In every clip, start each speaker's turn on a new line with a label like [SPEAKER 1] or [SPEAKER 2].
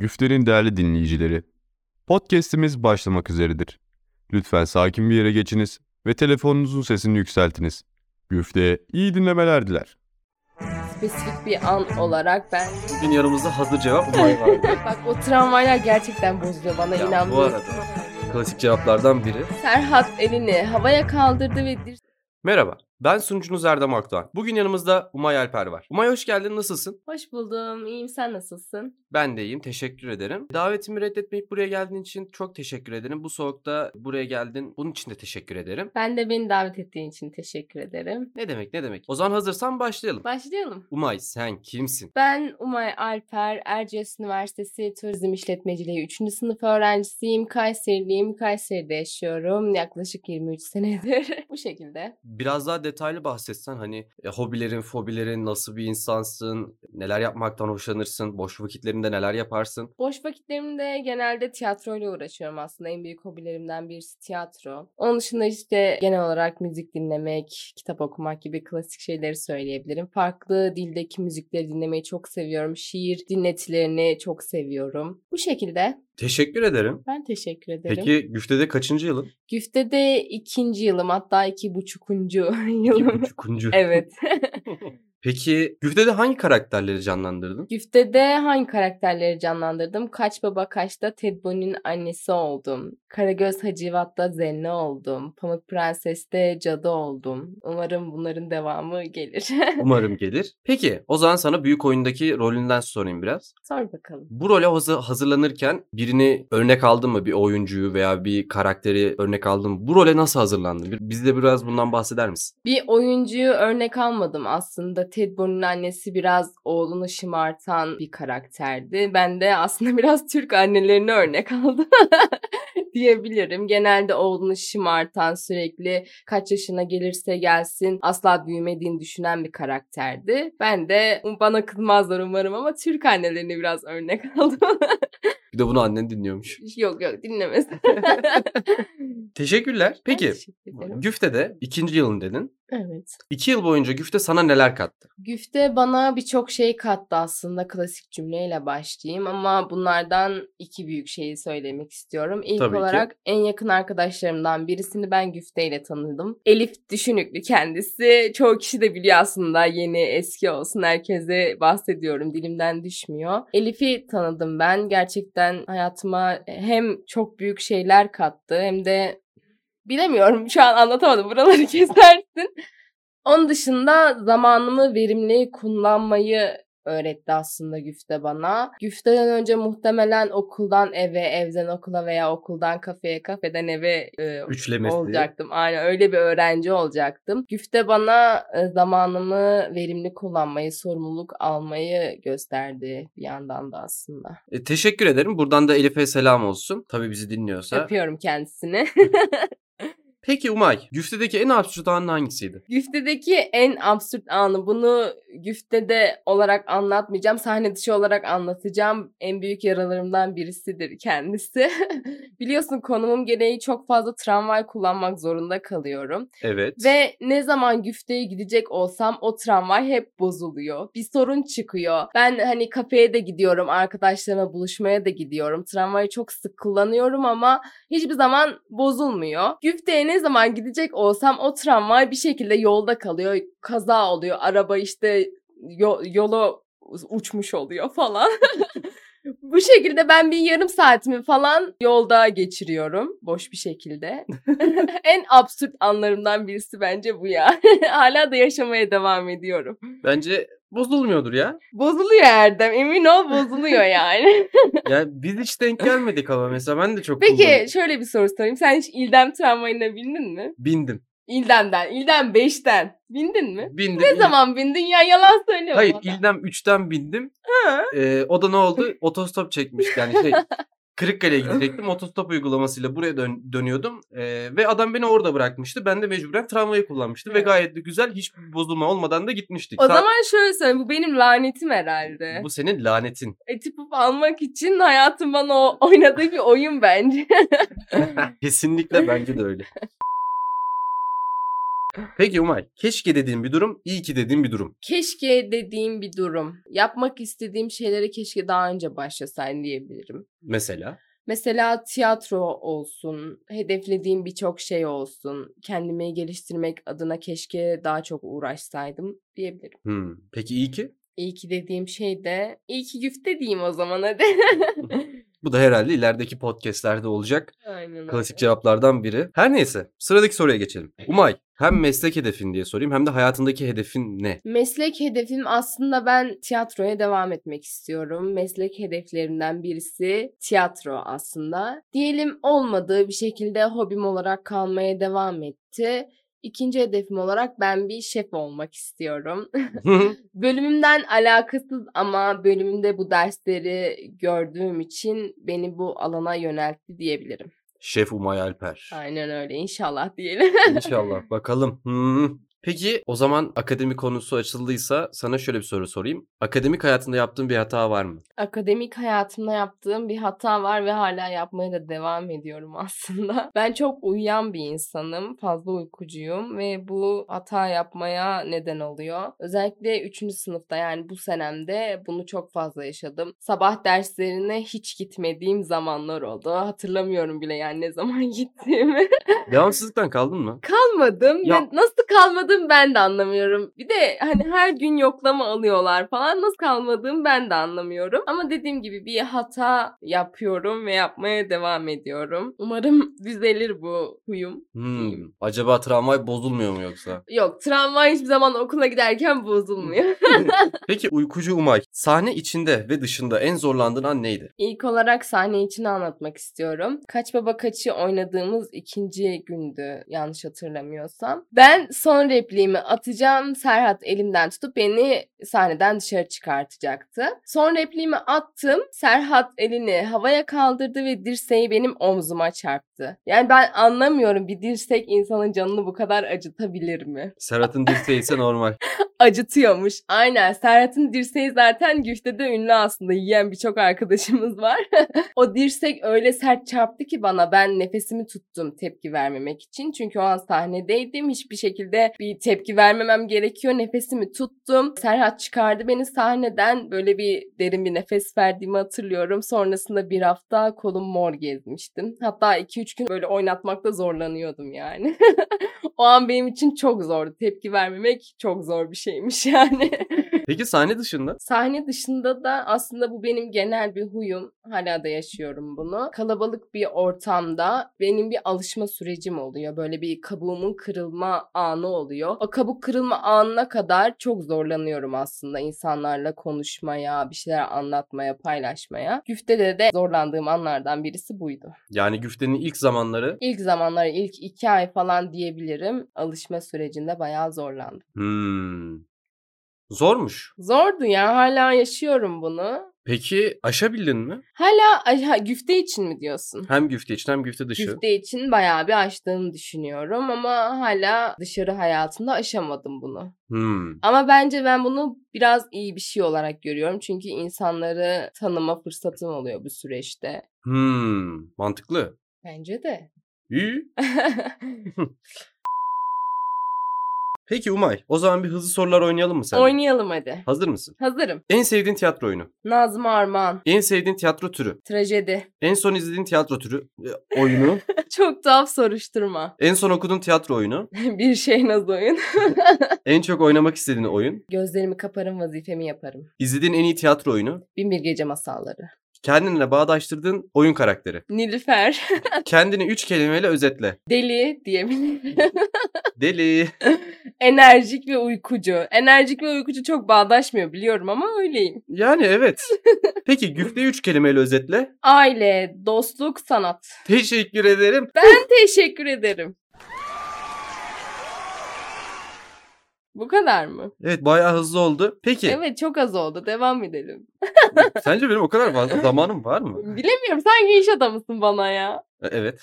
[SPEAKER 1] Güfter'in değerli dinleyicileri, podcast'imiz başlamak üzeredir. Lütfen sakin bir yere geçiniz ve telefonunuzun sesini yükseltiniz. Güfte'ye iyi dinlemeler diler.
[SPEAKER 2] Spesifik bir an olarak ben...
[SPEAKER 3] Bugün yanımızda hazır cevap Umay vardı.
[SPEAKER 2] Bak o tramvaylar gerçekten bozuyor bana
[SPEAKER 3] Ya,
[SPEAKER 2] inan.
[SPEAKER 3] bu arada. Klasik cevaplardan biri.
[SPEAKER 2] Serhat elini havaya kaldırdı ve dir-
[SPEAKER 3] Merhaba, ben sunucunuz Erdem Akdoğan. Bugün yanımızda Umay Alper var. Umay hoş geldin, nasılsın?
[SPEAKER 2] Hoş buldum, iyiyim sen nasılsın?
[SPEAKER 3] Ben de iyiyim, teşekkür ederim. Davetimi reddetmeyip buraya geldiğin için çok teşekkür ederim. Bu soğukta buraya geldin, bunun için de teşekkür ederim.
[SPEAKER 2] Ben de beni davet ettiğin için teşekkür ederim.
[SPEAKER 3] Ne demek, ne demek. O zaman hazırsan başlayalım.
[SPEAKER 2] Başlayalım.
[SPEAKER 3] Umay sen kimsin?
[SPEAKER 2] Ben Umay Alper, Erciyes Üniversitesi Turizm İşletmeciliği 3. sınıf öğrencisiyim. Kayseriliyim, Kayseri'de yaşıyorum yaklaşık 23 senedir. Bu şekilde.
[SPEAKER 3] Biraz daha detaylı bahsetsen hani e, hobilerin, fobilerin, nasıl bir insansın, neler yapmaktan hoşlanırsın, boş vakitlerinde neler yaparsın.
[SPEAKER 2] Boş vakitlerimde genelde tiyatroyla uğraşıyorum aslında. En büyük hobilerimden birisi tiyatro. Onun dışında işte genel olarak müzik dinlemek, kitap okumak gibi klasik şeyleri söyleyebilirim. Farklı dildeki müzikleri dinlemeyi çok seviyorum. Şiir dinletilerini çok seviyorum. Bu şekilde
[SPEAKER 3] Teşekkür ederim.
[SPEAKER 2] ben teşekkür ederim.
[SPEAKER 3] Peki güftede kaçıncı yılın?
[SPEAKER 2] Güfte de ikinci yılım hatta iki buçukuncu
[SPEAKER 3] İki
[SPEAKER 2] yılım.
[SPEAKER 3] buçukuncu.
[SPEAKER 2] evet.
[SPEAKER 3] Peki güftede hangi karakterleri canlandırdın?
[SPEAKER 2] Güfte'de hangi karakterleri canlandırdım? Kaç Baba Kaç'ta Ted Bundy'nin annesi oldum. Karagöz Hacivat'ta Zenne oldum. Pamuk Prenses'te cadı oldum. Umarım bunların devamı gelir.
[SPEAKER 3] Umarım gelir. Peki o zaman sana büyük oyundaki rolünden sorayım biraz.
[SPEAKER 2] Sor bakalım.
[SPEAKER 3] Bu role hazır- hazırlanırken birini örnek aldın mı? Bir oyuncuyu veya bir karakteri örnek aldın mı? Bu role nasıl hazırlandın? Bir- Bize biraz bundan bahseder misin?
[SPEAKER 2] Bir oyuncuyu örnek almadım aslında. Ted Bundy'nin annesi biraz oğlunu şımartan bir karakterdi. Ben de aslında biraz Türk annelerini örnek aldım. diyebilirim. Genelde oğlunu şımartan sürekli kaç yaşına gelirse gelsin asla büyümediğini düşünen bir karakterdi. Ben de um, bana kızmazlar umarım ama Türk annelerini biraz örnek aldım.
[SPEAKER 3] Bir de bunu annen dinliyormuş.
[SPEAKER 2] yok yok dinlemez.
[SPEAKER 3] Teşekkürler. Peki
[SPEAKER 2] Teşekkür ederim.
[SPEAKER 3] Güfte'de ikinci yılın dedin.
[SPEAKER 2] Evet.
[SPEAKER 3] İki yıl boyunca Güfte sana neler kattı?
[SPEAKER 2] Güfte bana birçok şey kattı aslında klasik cümleyle başlayayım ama bunlardan iki büyük şeyi söylemek istiyorum. İlk
[SPEAKER 3] Tabii ki.
[SPEAKER 2] olarak en yakın arkadaşlarımdan birisini ben Güfte ile tanıdım. Elif Düşünüklü kendisi. Çoğu kişi de biliyor aslında yeni eski olsun herkese bahsediyorum dilimden düşmüyor. Elif'i tanıdım ben. Gerçekten hayatıma hem çok büyük şeyler kattı hem de bilemiyorum şu an anlatamadım buraları kesersin. Onun dışında zamanımı verimli kullanmayı öğretti aslında güfte bana. Güfteden önce muhtemelen okuldan eve, evden okula veya okuldan kafeye, kafeden eve e,
[SPEAKER 3] Üçlemesi.
[SPEAKER 2] olacaktım. Aynen öyle bir öğrenci olacaktım. Güfte bana e, zamanımı verimli kullanmayı, sorumluluk almayı gösterdi bir yandan da aslında.
[SPEAKER 3] E, teşekkür ederim. Buradan da Elif'e selam olsun. Tabii bizi dinliyorsa.
[SPEAKER 2] Öpüyorum kendisini.
[SPEAKER 3] Peki Umay, güftedeki en absürt anın hangisiydi?
[SPEAKER 2] Güftedeki en absürt anı bunu güftede olarak anlatmayacağım. Sahne dışı olarak anlatacağım. En büyük yaralarımdan birisidir kendisi. Biliyorsun konumum gereği çok fazla tramvay kullanmak zorunda kalıyorum.
[SPEAKER 3] Evet.
[SPEAKER 2] Ve ne zaman güfteye gidecek olsam o tramvay hep bozuluyor. Bir sorun çıkıyor. Ben hani kafeye de gidiyorum, arkadaşlarımla buluşmaya da gidiyorum. Tramvayı çok sık kullanıyorum ama hiçbir zaman bozulmuyor. Güfteye ne zaman gidecek olsam o tramvay bir şekilde yolda kalıyor. Kaza oluyor. Araba işte yo- yolu uçmuş oluyor falan. Bu şekilde ben bir yarım saatimi falan yolda geçiriyorum boş bir şekilde. en absürt anlarımdan birisi bence bu ya. Hala da yaşamaya devam ediyorum.
[SPEAKER 3] Bence bozulmuyordur ya.
[SPEAKER 2] Bozuluyor Erdem. Emin ol bozuluyor yani.
[SPEAKER 3] Yani biz hiç denk gelmedik ama mesela ben de çok
[SPEAKER 2] Peki
[SPEAKER 3] kullanıyorum.
[SPEAKER 2] şöyle bir soru sorayım. Sen hiç İldem tramvayına bindin mi?
[SPEAKER 3] Bindim.
[SPEAKER 2] İldem'den. İldem 5'ten. Bindin mi?
[SPEAKER 3] Bindim.
[SPEAKER 2] Ne zaman bindin ya? Yalan söyleme
[SPEAKER 3] Hayır
[SPEAKER 2] bana.
[SPEAKER 3] İldem 3'ten bindim.
[SPEAKER 2] Ha?
[SPEAKER 3] Ee, o da ne oldu? Otostop çekmiş yani şey. Kırıkkale'ye gidecektim. Otostop uygulamasıyla buraya dön- dönüyordum. Ee, ve adam beni orada bırakmıştı. Ben de mecburen tramvayı kullanmıştım. Ve
[SPEAKER 2] Evet.
[SPEAKER 3] gayet de güzel. Hiçbir bozulma olmadan da gitmiştik.
[SPEAKER 2] O
[SPEAKER 3] Sa-
[SPEAKER 2] zaman şöyle söyleyeyim. Bu benim lanetim herhalde.
[SPEAKER 3] Bu senin lanetin.
[SPEAKER 2] E, Tipip almak için hayatım bana o- oynadığı bir oyun bence.
[SPEAKER 3] Kesinlikle bence de öyle. Peki Umay, keşke dediğim bir durum, iyi ki dediğim bir durum.
[SPEAKER 2] Keşke dediğim bir durum. Yapmak istediğim şeylere keşke daha önce başlasaydım diyebilirim.
[SPEAKER 3] Mesela
[SPEAKER 2] Mesela tiyatro olsun, hedeflediğim birçok şey olsun, kendimi geliştirmek adına keşke daha çok uğraşsaydım diyebilirim.
[SPEAKER 3] Hmm, Peki iyi ki?
[SPEAKER 2] İyi ki dediğim şey de, iyi ki güfte diyeyim o zaman hadi.
[SPEAKER 3] Bu da herhalde ilerideki podcastlerde olacak
[SPEAKER 2] Aynen öyle.
[SPEAKER 3] klasik cevaplardan biri. Her neyse sıradaki soruya geçelim. Umay hem meslek hedefin diye sorayım hem de hayatındaki hedefin ne?
[SPEAKER 2] Meslek hedefim aslında ben tiyatroya devam etmek istiyorum. Meslek hedeflerimden birisi tiyatro aslında. Diyelim olmadığı bir şekilde hobim olarak kalmaya devam etti. İkinci hedefim olarak ben bir şef olmak istiyorum. Bölümümden alakasız ama bölümümde bu dersleri gördüğüm için beni bu alana yöneltti diyebilirim.
[SPEAKER 3] Şef Umay Alper.
[SPEAKER 2] Aynen öyle inşallah diyelim.
[SPEAKER 3] İnşallah bakalım. Hmm. Peki o zaman akademi konusu açıldıysa sana şöyle bir soru sorayım. Akademik hayatında yaptığın bir hata var mı?
[SPEAKER 2] akademik hayatımda yaptığım bir hata var ve hala yapmaya da devam ediyorum aslında. Ben çok uyuyan bir insanım. Fazla uykucuyum ve bu hata yapmaya neden oluyor. Özellikle 3. sınıfta yani bu senemde bunu çok fazla yaşadım. Sabah derslerine hiç gitmediğim zamanlar oldu. Hatırlamıyorum bile yani ne zaman gittiğimi
[SPEAKER 3] Devamsızlıktan kaldın mı?
[SPEAKER 2] kalmadım
[SPEAKER 3] Ya-
[SPEAKER 2] ve nasıl kalmadım ben de anlamıyorum. Bir de hani her gün yoklama alıyorlar falan nasıl kalmadığımı ben de anlamıyorum. Ama dediğim gibi bir hata yapıyorum ve yapmaya devam ediyorum. Umarım düzelir bu huyum.
[SPEAKER 3] Hmm. Acaba tramvay bozulmuyor mu yoksa?
[SPEAKER 2] Yok travma hiçbir zaman okula giderken bozulmuyor.
[SPEAKER 3] Peki uykucu Umay sahne içinde ve dışında en zorlandığın an neydi?
[SPEAKER 2] İlk olarak sahne için anlatmak istiyorum. Kaç Baba Kaç'ı oynadığımız ikinci gündü yanlış hatırlamıyorsam. Ben son repliğimi atacağım. Serhat elimden tutup beni sahneden dışarı çıkartacaktı. Son repliğimi attım. Serhat elini havaya kaldırdı ve dirseği benim omzuma çarptı. Yani ben anlamıyorum bir dirsek insanın canını bu kadar acıtabilir mi?
[SPEAKER 3] Serhat'ın dirseği ise normal.
[SPEAKER 2] acıtıyormuş. Aynen Serhat'ın dirseği zaten güftede ünlü aslında yiyen birçok arkadaşımız var. o dirsek öyle sert çarptı ki bana ben nefesimi tuttum tepki vermemek için. Çünkü o an sahnedeydim hiçbir şekilde bir tepki vermemem gerekiyor. Nefesimi tuttum. Serhat çıkardı beni sahneden böyle bir derin bir nefes verdiğimi hatırlıyorum. Sonrasında bir hafta kolum mor gezmiştim. Hatta 2-3 gün böyle oynatmakta zorlanıyordum yani. o an benim için çok zordu. Tepki vermemek çok zor bir şeymiş yani.
[SPEAKER 3] Peki sahne dışında?
[SPEAKER 2] Sahne dışında da aslında bu benim genel bir huyum. Hala da yaşıyorum bunu. Kalabalık bir ortamda benim bir alışma sürecim oluyor. Böyle bir kabuğumun kırılma anı oluyor. O kabuk kırılma anına kadar çok zorlanıyorum aslında insanlarla konuşmaya, bir şeyler anlatmaya, paylaşmaya. Güftede de zorlandığım anlardan birisi buydu.
[SPEAKER 3] Yani güftenin ilk zamanları
[SPEAKER 2] İlk zamanlar ilk iki ay falan diyebilirim. Alışma sürecinde bayağı zorlandım.
[SPEAKER 3] Hmm. Zormuş.
[SPEAKER 2] Zordu ya hala yaşıyorum bunu.
[SPEAKER 3] Peki aşabildin mi?
[SPEAKER 2] Hala ay, ha, güfte için mi diyorsun?
[SPEAKER 3] Hem güfte içi hem güfte dışı.
[SPEAKER 2] Güfte için bayağı bir aştığımı düşünüyorum ama hala dışarı hayatımda aşamadım bunu.
[SPEAKER 3] Hmm.
[SPEAKER 2] Ama bence ben bunu biraz iyi bir şey olarak görüyorum. Çünkü insanları tanıma fırsatım oluyor bu süreçte.
[SPEAKER 3] Hmm. Mantıklı.
[SPEAKER 2] Bence de.
[SPEAKER 3] İyi. Peki Umay, o zaman bir hızlı sorular oynayalım mı sen?
[SPEAKER 2] Oynayalım hadi.
[SPEAKER 3] Hazır mısın?
[SPEAKER 2] Hazırım.
[SPEAKER 3] En sevdiğin tiyatro oyunu.
[SPEAKER 2] Nazım Armağan.
[SPEAKER 3] En sevdiğin tiyatro türü.
[SPEAKER 2] Trajedi.
[SPEAKER 3] En son izlediğin tiyatro türü e, oyunu.
[SPEAKER 2] Çok tuhaf soruşturma.
[SPEAKER 3] en son okuduğun tiyatro oyunu.
[SPEAKER 2] bir şey naz oyun.
[SPEAKER 3] En çok oynamak istediğin oyun.
[SPEAKER 2] Gözlerimi kaparım vazifemi yaparım.
[SPEAKER 3] İzlediğin en iyi tiyatro oyunu.
[SPEAKER 2] Bin Bir Gece Masalları.
[SPEAKER 3] Kendinle bağdaştırdığın oyun karakteri.
[SPEAKER 2] Nilüfer.
[SPEAKER 3] Kendini üç kelimeyle özetle.
[SPEAKER 2] Deli diyebilirim.
[SPEAKER 3] Deli.
[SPEAKER 2] Enerjik ve uykucu. Enerjik ve uykucu çok bağdaşmıyor biliyorum ama öyleyim.
[SPEAKER 3] Yani evet. Peki güfteyi üç kelimeyle özetle.
[SPEAKER 2] Aile, dostluk, sanat.
[SPEAKER 3] Teşekkür ederim.
[SPEAKER 2] Teşekkür ederim. Bu kadar mı?
[SPEAKER 3] Evet bayağı hızlı oldu. Peki
[SPEAKER 2] Evet çok az oldu. Devam edelim.
[SPEAKER 3] sence benim o kadar fazla zamanım var mı?
[SPEAKER 2] Bilemiyorum. Sanki iş adamısın bana ya.
[SPEAKER 3] E, Evet.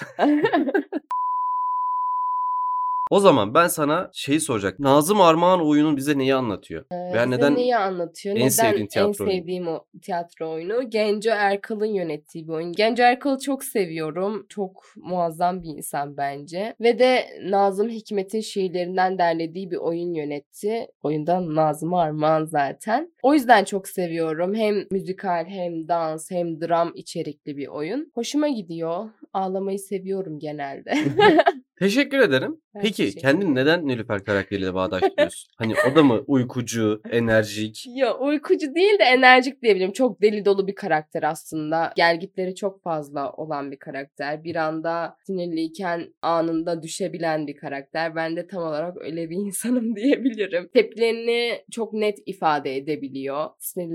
[SPEAKER 3] O zaman ben sana şeyi soracak. Nazım Armağan oyunu bize neyi anlatıyor? Veya
[SPEAKER 2] Size
[SPEAKER 3] neden
[SPEAKER 2] Ee, neyi anlatıyor?
[SPEAKER 3] en
[SPEAKER 2] Neden
[SPEAKER 3] sevdiğin tiyatro
[SPEAKER 2] en
[SPEAKER 3] oyunu?
[SPEAKER 2] sevdiğim o tiyatro oyunu? Genco Erkal'ın yönettiği bir oyun. Genco Erkal'ı çok seviyorum. Çok muazzam bir insan bence. Ve de Nazım Hikmet'in şiirlerinden derlediği bir oyun yönetti. Oyunda Nazım Armağan zaten. O yüzden çok seviyorum. Hem müzikal hem dans hem dram içerikli bir oyun. Hoşuma gidiyor. Ağlamayı seviyorum genelde.
[SPEAKER 3] Teşekkür ederim.
[SPEAKER 2] Ben
[SPEAKER 3] Peki
[SPEAKER 2] teşekkür
[SPEAKER 3] kendini neden Nilüfer karakteriyle bağdaştırıyorsun? hani o da mı uykucu, enerjik?
[SPEAKER 2] Ya uykucu değil de enerjik diyebilirim. Çok deli dolu bir karakter aslında. Gelgitleri çok fazla olan bir karakter. Bir anda sinirliyken anında düşebilen bir karakter. Ben de tam olarak öyle bir insanım diyebilirim. Tepkilerini çok net ifade edebiliyor.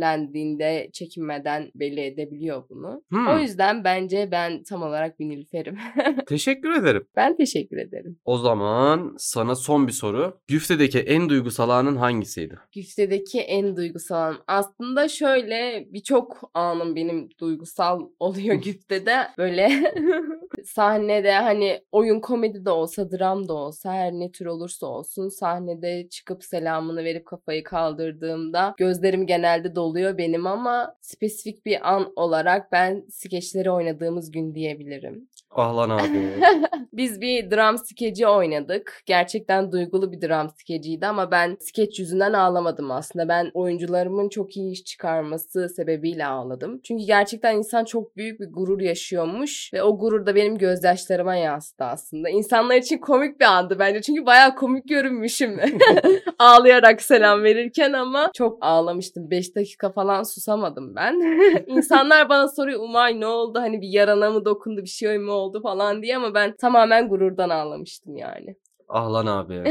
[SPEAKER 2] Sinirlendiğinde çekinmeden belli edebiliyor bunu.
[SPEAKER 3] Hmm.
[SPEAKER 2] O yüzden bence ben tam olarak bir Nilüfer'im.
[SPEAKER 3] Teşekkür ederim.
[SPEAKER 2] ben teşekkür ederim.
[SPEAKER 3] O zaman sana son bir soru. Güftedeki en duygusal anın hangisiydi?
[SPEAKER 2] Güftedeki en duygusal an. Aslında şöyle birçok anım benim duygusal oluyor güftede. Böyle sahnede hani oyun komedi de olsa dram da olsa her ne tür olursa olsun sahnede çıkıp selamını verip kafayı kaldırdığımda gözlerim genelde doluyor benim ama spesifik bir an olarak ben skeçleri oynadığımız gün diyebilirim.
[SPEAKER 3] Ah lan abi.
[SPEAKER 2] Biz bir dram skeci oynadık. Gerçekten duygulu bir dram skeciydi ama ben skeç yüzünden ağlamadım aslında. Ben oyuncularımın çok iyi iş çıkarması sebebiyle ağladım. Çünkü gerçekten insan çok büyük bir gurur yaşıyormuş ve o gurur da benim gözyaşlarıma yansıdı aslında. İnsanlar için komik bir andı bence çünkü bayağı komik görünmüşüm ağlayarak selam verirken ama çok ağlamıştım. 5 dakika falan susamadım ben. İnsanlar bana soruyor Umay ne oldu? Hani bir yarana mı dokundu bir şey mi oldu falan diye ama ben tamamen gururdan ağlamıştım yani.
[SPEAKER 3] Ah lan abi.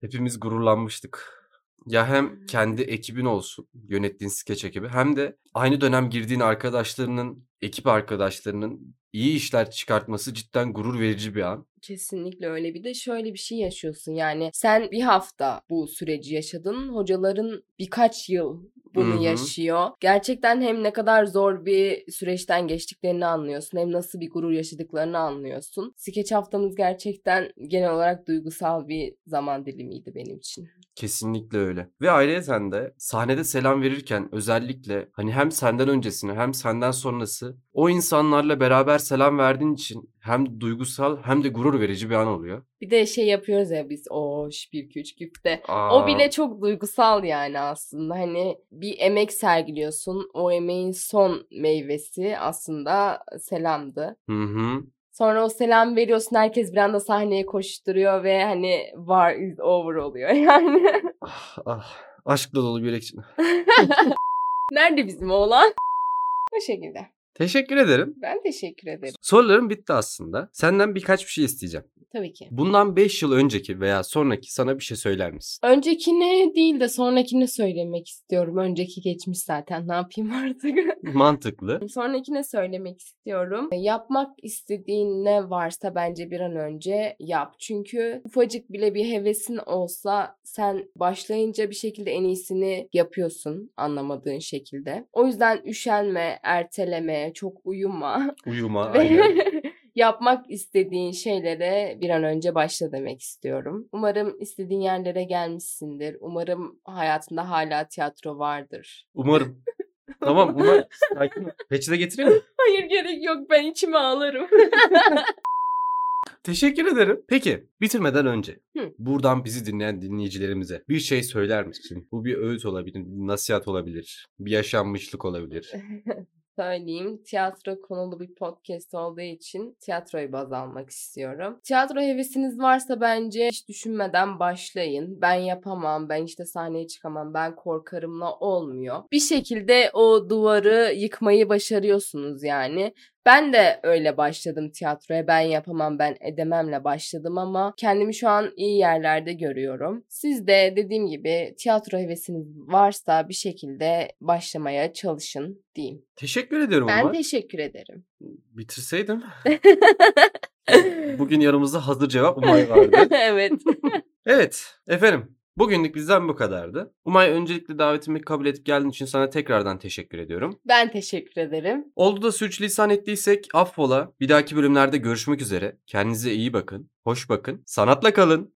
[SPEAKER 3] Hepimiz gururlanmıştık. Ya hem kendi ekibin olsun, yönettiğin skeç ekibi hem de aynı dönem girdiğin arkadaşlarının, ekip arkadaşlarının iyi işler çıkartması cidden gurur verici bir an.
[SPEAKER 2] Kesinlikle öyle. Bir de şöyle bir şey yaşıyorsun yani sen bir hafta bu süreci yaşadın. Hocaların birkaç yıl bunu
[SPEAKER 3] Hı hı.
[SPEAKER 2] yaşıyor. Gerçekten hem ne kadar zor bir süreçten geçtiklerini anlıyorsun hem nasıl bir gurur yaşadıklarını anlıyorsun. Skeç haftamız gerçekten genel olarak duygusal bir zaman dilimiydi benim için.
[SPEAKER 3] Kesinlikle öyle. Ve ayrıca de sahnede selam verirken özellikle hani hem senden öncesini hem senden sonrası o insanlarla beraber selam verdiğin için hem duygusal hem de gurur verici bir an oluyor.
[SPEAKER 2] Bir de şey yapıyoruz ya biz o bir 2 3 güpte.
[SPEAKER 3] Aa,
[SPEAKER 2] O bile çok duygusal yani aslında. Hani bir emek sergiliyorsun. O emeğin son meyvesi aslında selamdı.
[SPEAKER 3] Hı hı.
[SPEAKER 2] Sonra o selam veriyorsun. Herkes bir anda sahneye koşturuyor ve hani var is over oluyor yani.
[SPEAKER 3] Ah, ah. Aşkla dolu bir için.
[SPEAKER 2] Nerede bizim oğlan? Bu şekilde.
[SPEAKER 3] Teşekkür ederim.
[SPEAKER 2] Ben teşekkür ederim.
[SPEAKER 3] Sorularım bitti aslında. Senden birkaç bir şey isteyeceğim.
[SPEAKER 2] Tabii ki.
[SPEAKER 3] Bundan 5 yıl önceki veya sonraki sana bir şey söyler misin?
[SPEAKER 2] Öncekini değil de sonrakini söylemek istiyorum. Önceki geçmiş zaten. Ne yapayım artık?
[SPEAKER 3] Mantıklı.
[SPEAKER 2] Sonrakine söylemek istiyorum. E, Yapmak istediğin ne varsa bence bir an önce yap. Çünkü ufacık bile bir hevesin olsa sen başlayınca bir şekilde en iyisini yapıyorsun anlamadığın şekilde. O yüzden üşenme, erteleme, çok uyuma
[SPEAKER 3] Uyuma.
[SPEAKER 2] ve
[SPEAKER 3] aynen.
[SPEAKER 2] yapmak istediğin şeylere bir an önce başla demek istiyorum. Umarım istediğin yerlere gelmişsindir. Umarım hayatında hala tiyatro vardır.
[SPEAKER 3] Umarım. tamam umarım. Sakin ol. Peçete getireyim mi?
[SPEAKER 2] Hayır gerek yok ben içime ağlarım.
[SPEAKER 3] Teşekkür ederim. Peki bitirmeden önce
[SPEAKER 2] Hı.
[SPEAKER 3] buradan bizi dinleyen dinleyicilerimize bir şey söyler misin? Bu bir öğüt olabilir, bir nasihat olabilir, bir yaşanmışlık olabilir.
[SPEAKER 2] söyleyeyim. Tiyatro konulu bir podcast olduğu için tiyatroyu baz almak istiyorum. Tiyatro hevesiniz varsa bence hiç düşünmeden başlayın. Ben yapamam, ben işte sahneye çıkamam, ben korkarımla olmuyor. Bir şekilde o duvarı yıkmayı başarıyorsunuz yani. Ben de öyle başladım tiyatroya. Ben yapamam, ben edememle başladım ama kendimi şu an iyi yerlerde görüyorum. Siz de dediğim gibi tiyatro hevesiniz varsa bir şekilde başlamaya çalışın diyeyim.
[SPEAKER 3] Teşekkür ediyorum
[SPEAKER 2] Ben
[SPEAKER 3] ama
[SPEAKER 2] teşekkür ederim.
[SPEAKER 3] bitirseydim. Bugün yanımızda hazır cevap Umay vardı.
[SPEAKER 2] evet.
[SPEAKER 3] evet efendim bugünlük bizden bu kadardı. Umay öncelikle davetimi kabul edip geldiğin için sana tekrardan teşekkür ediyorum.
[SPEAKER 2] Ben teşekkür ederim.
[SPEAKER 3] Oldu da sürçülisan ettiysek affola. Bir dahaki bölümlerde görüşmek üzere. Kendinize iyi bakın, hoş bakın, sanatla kalın.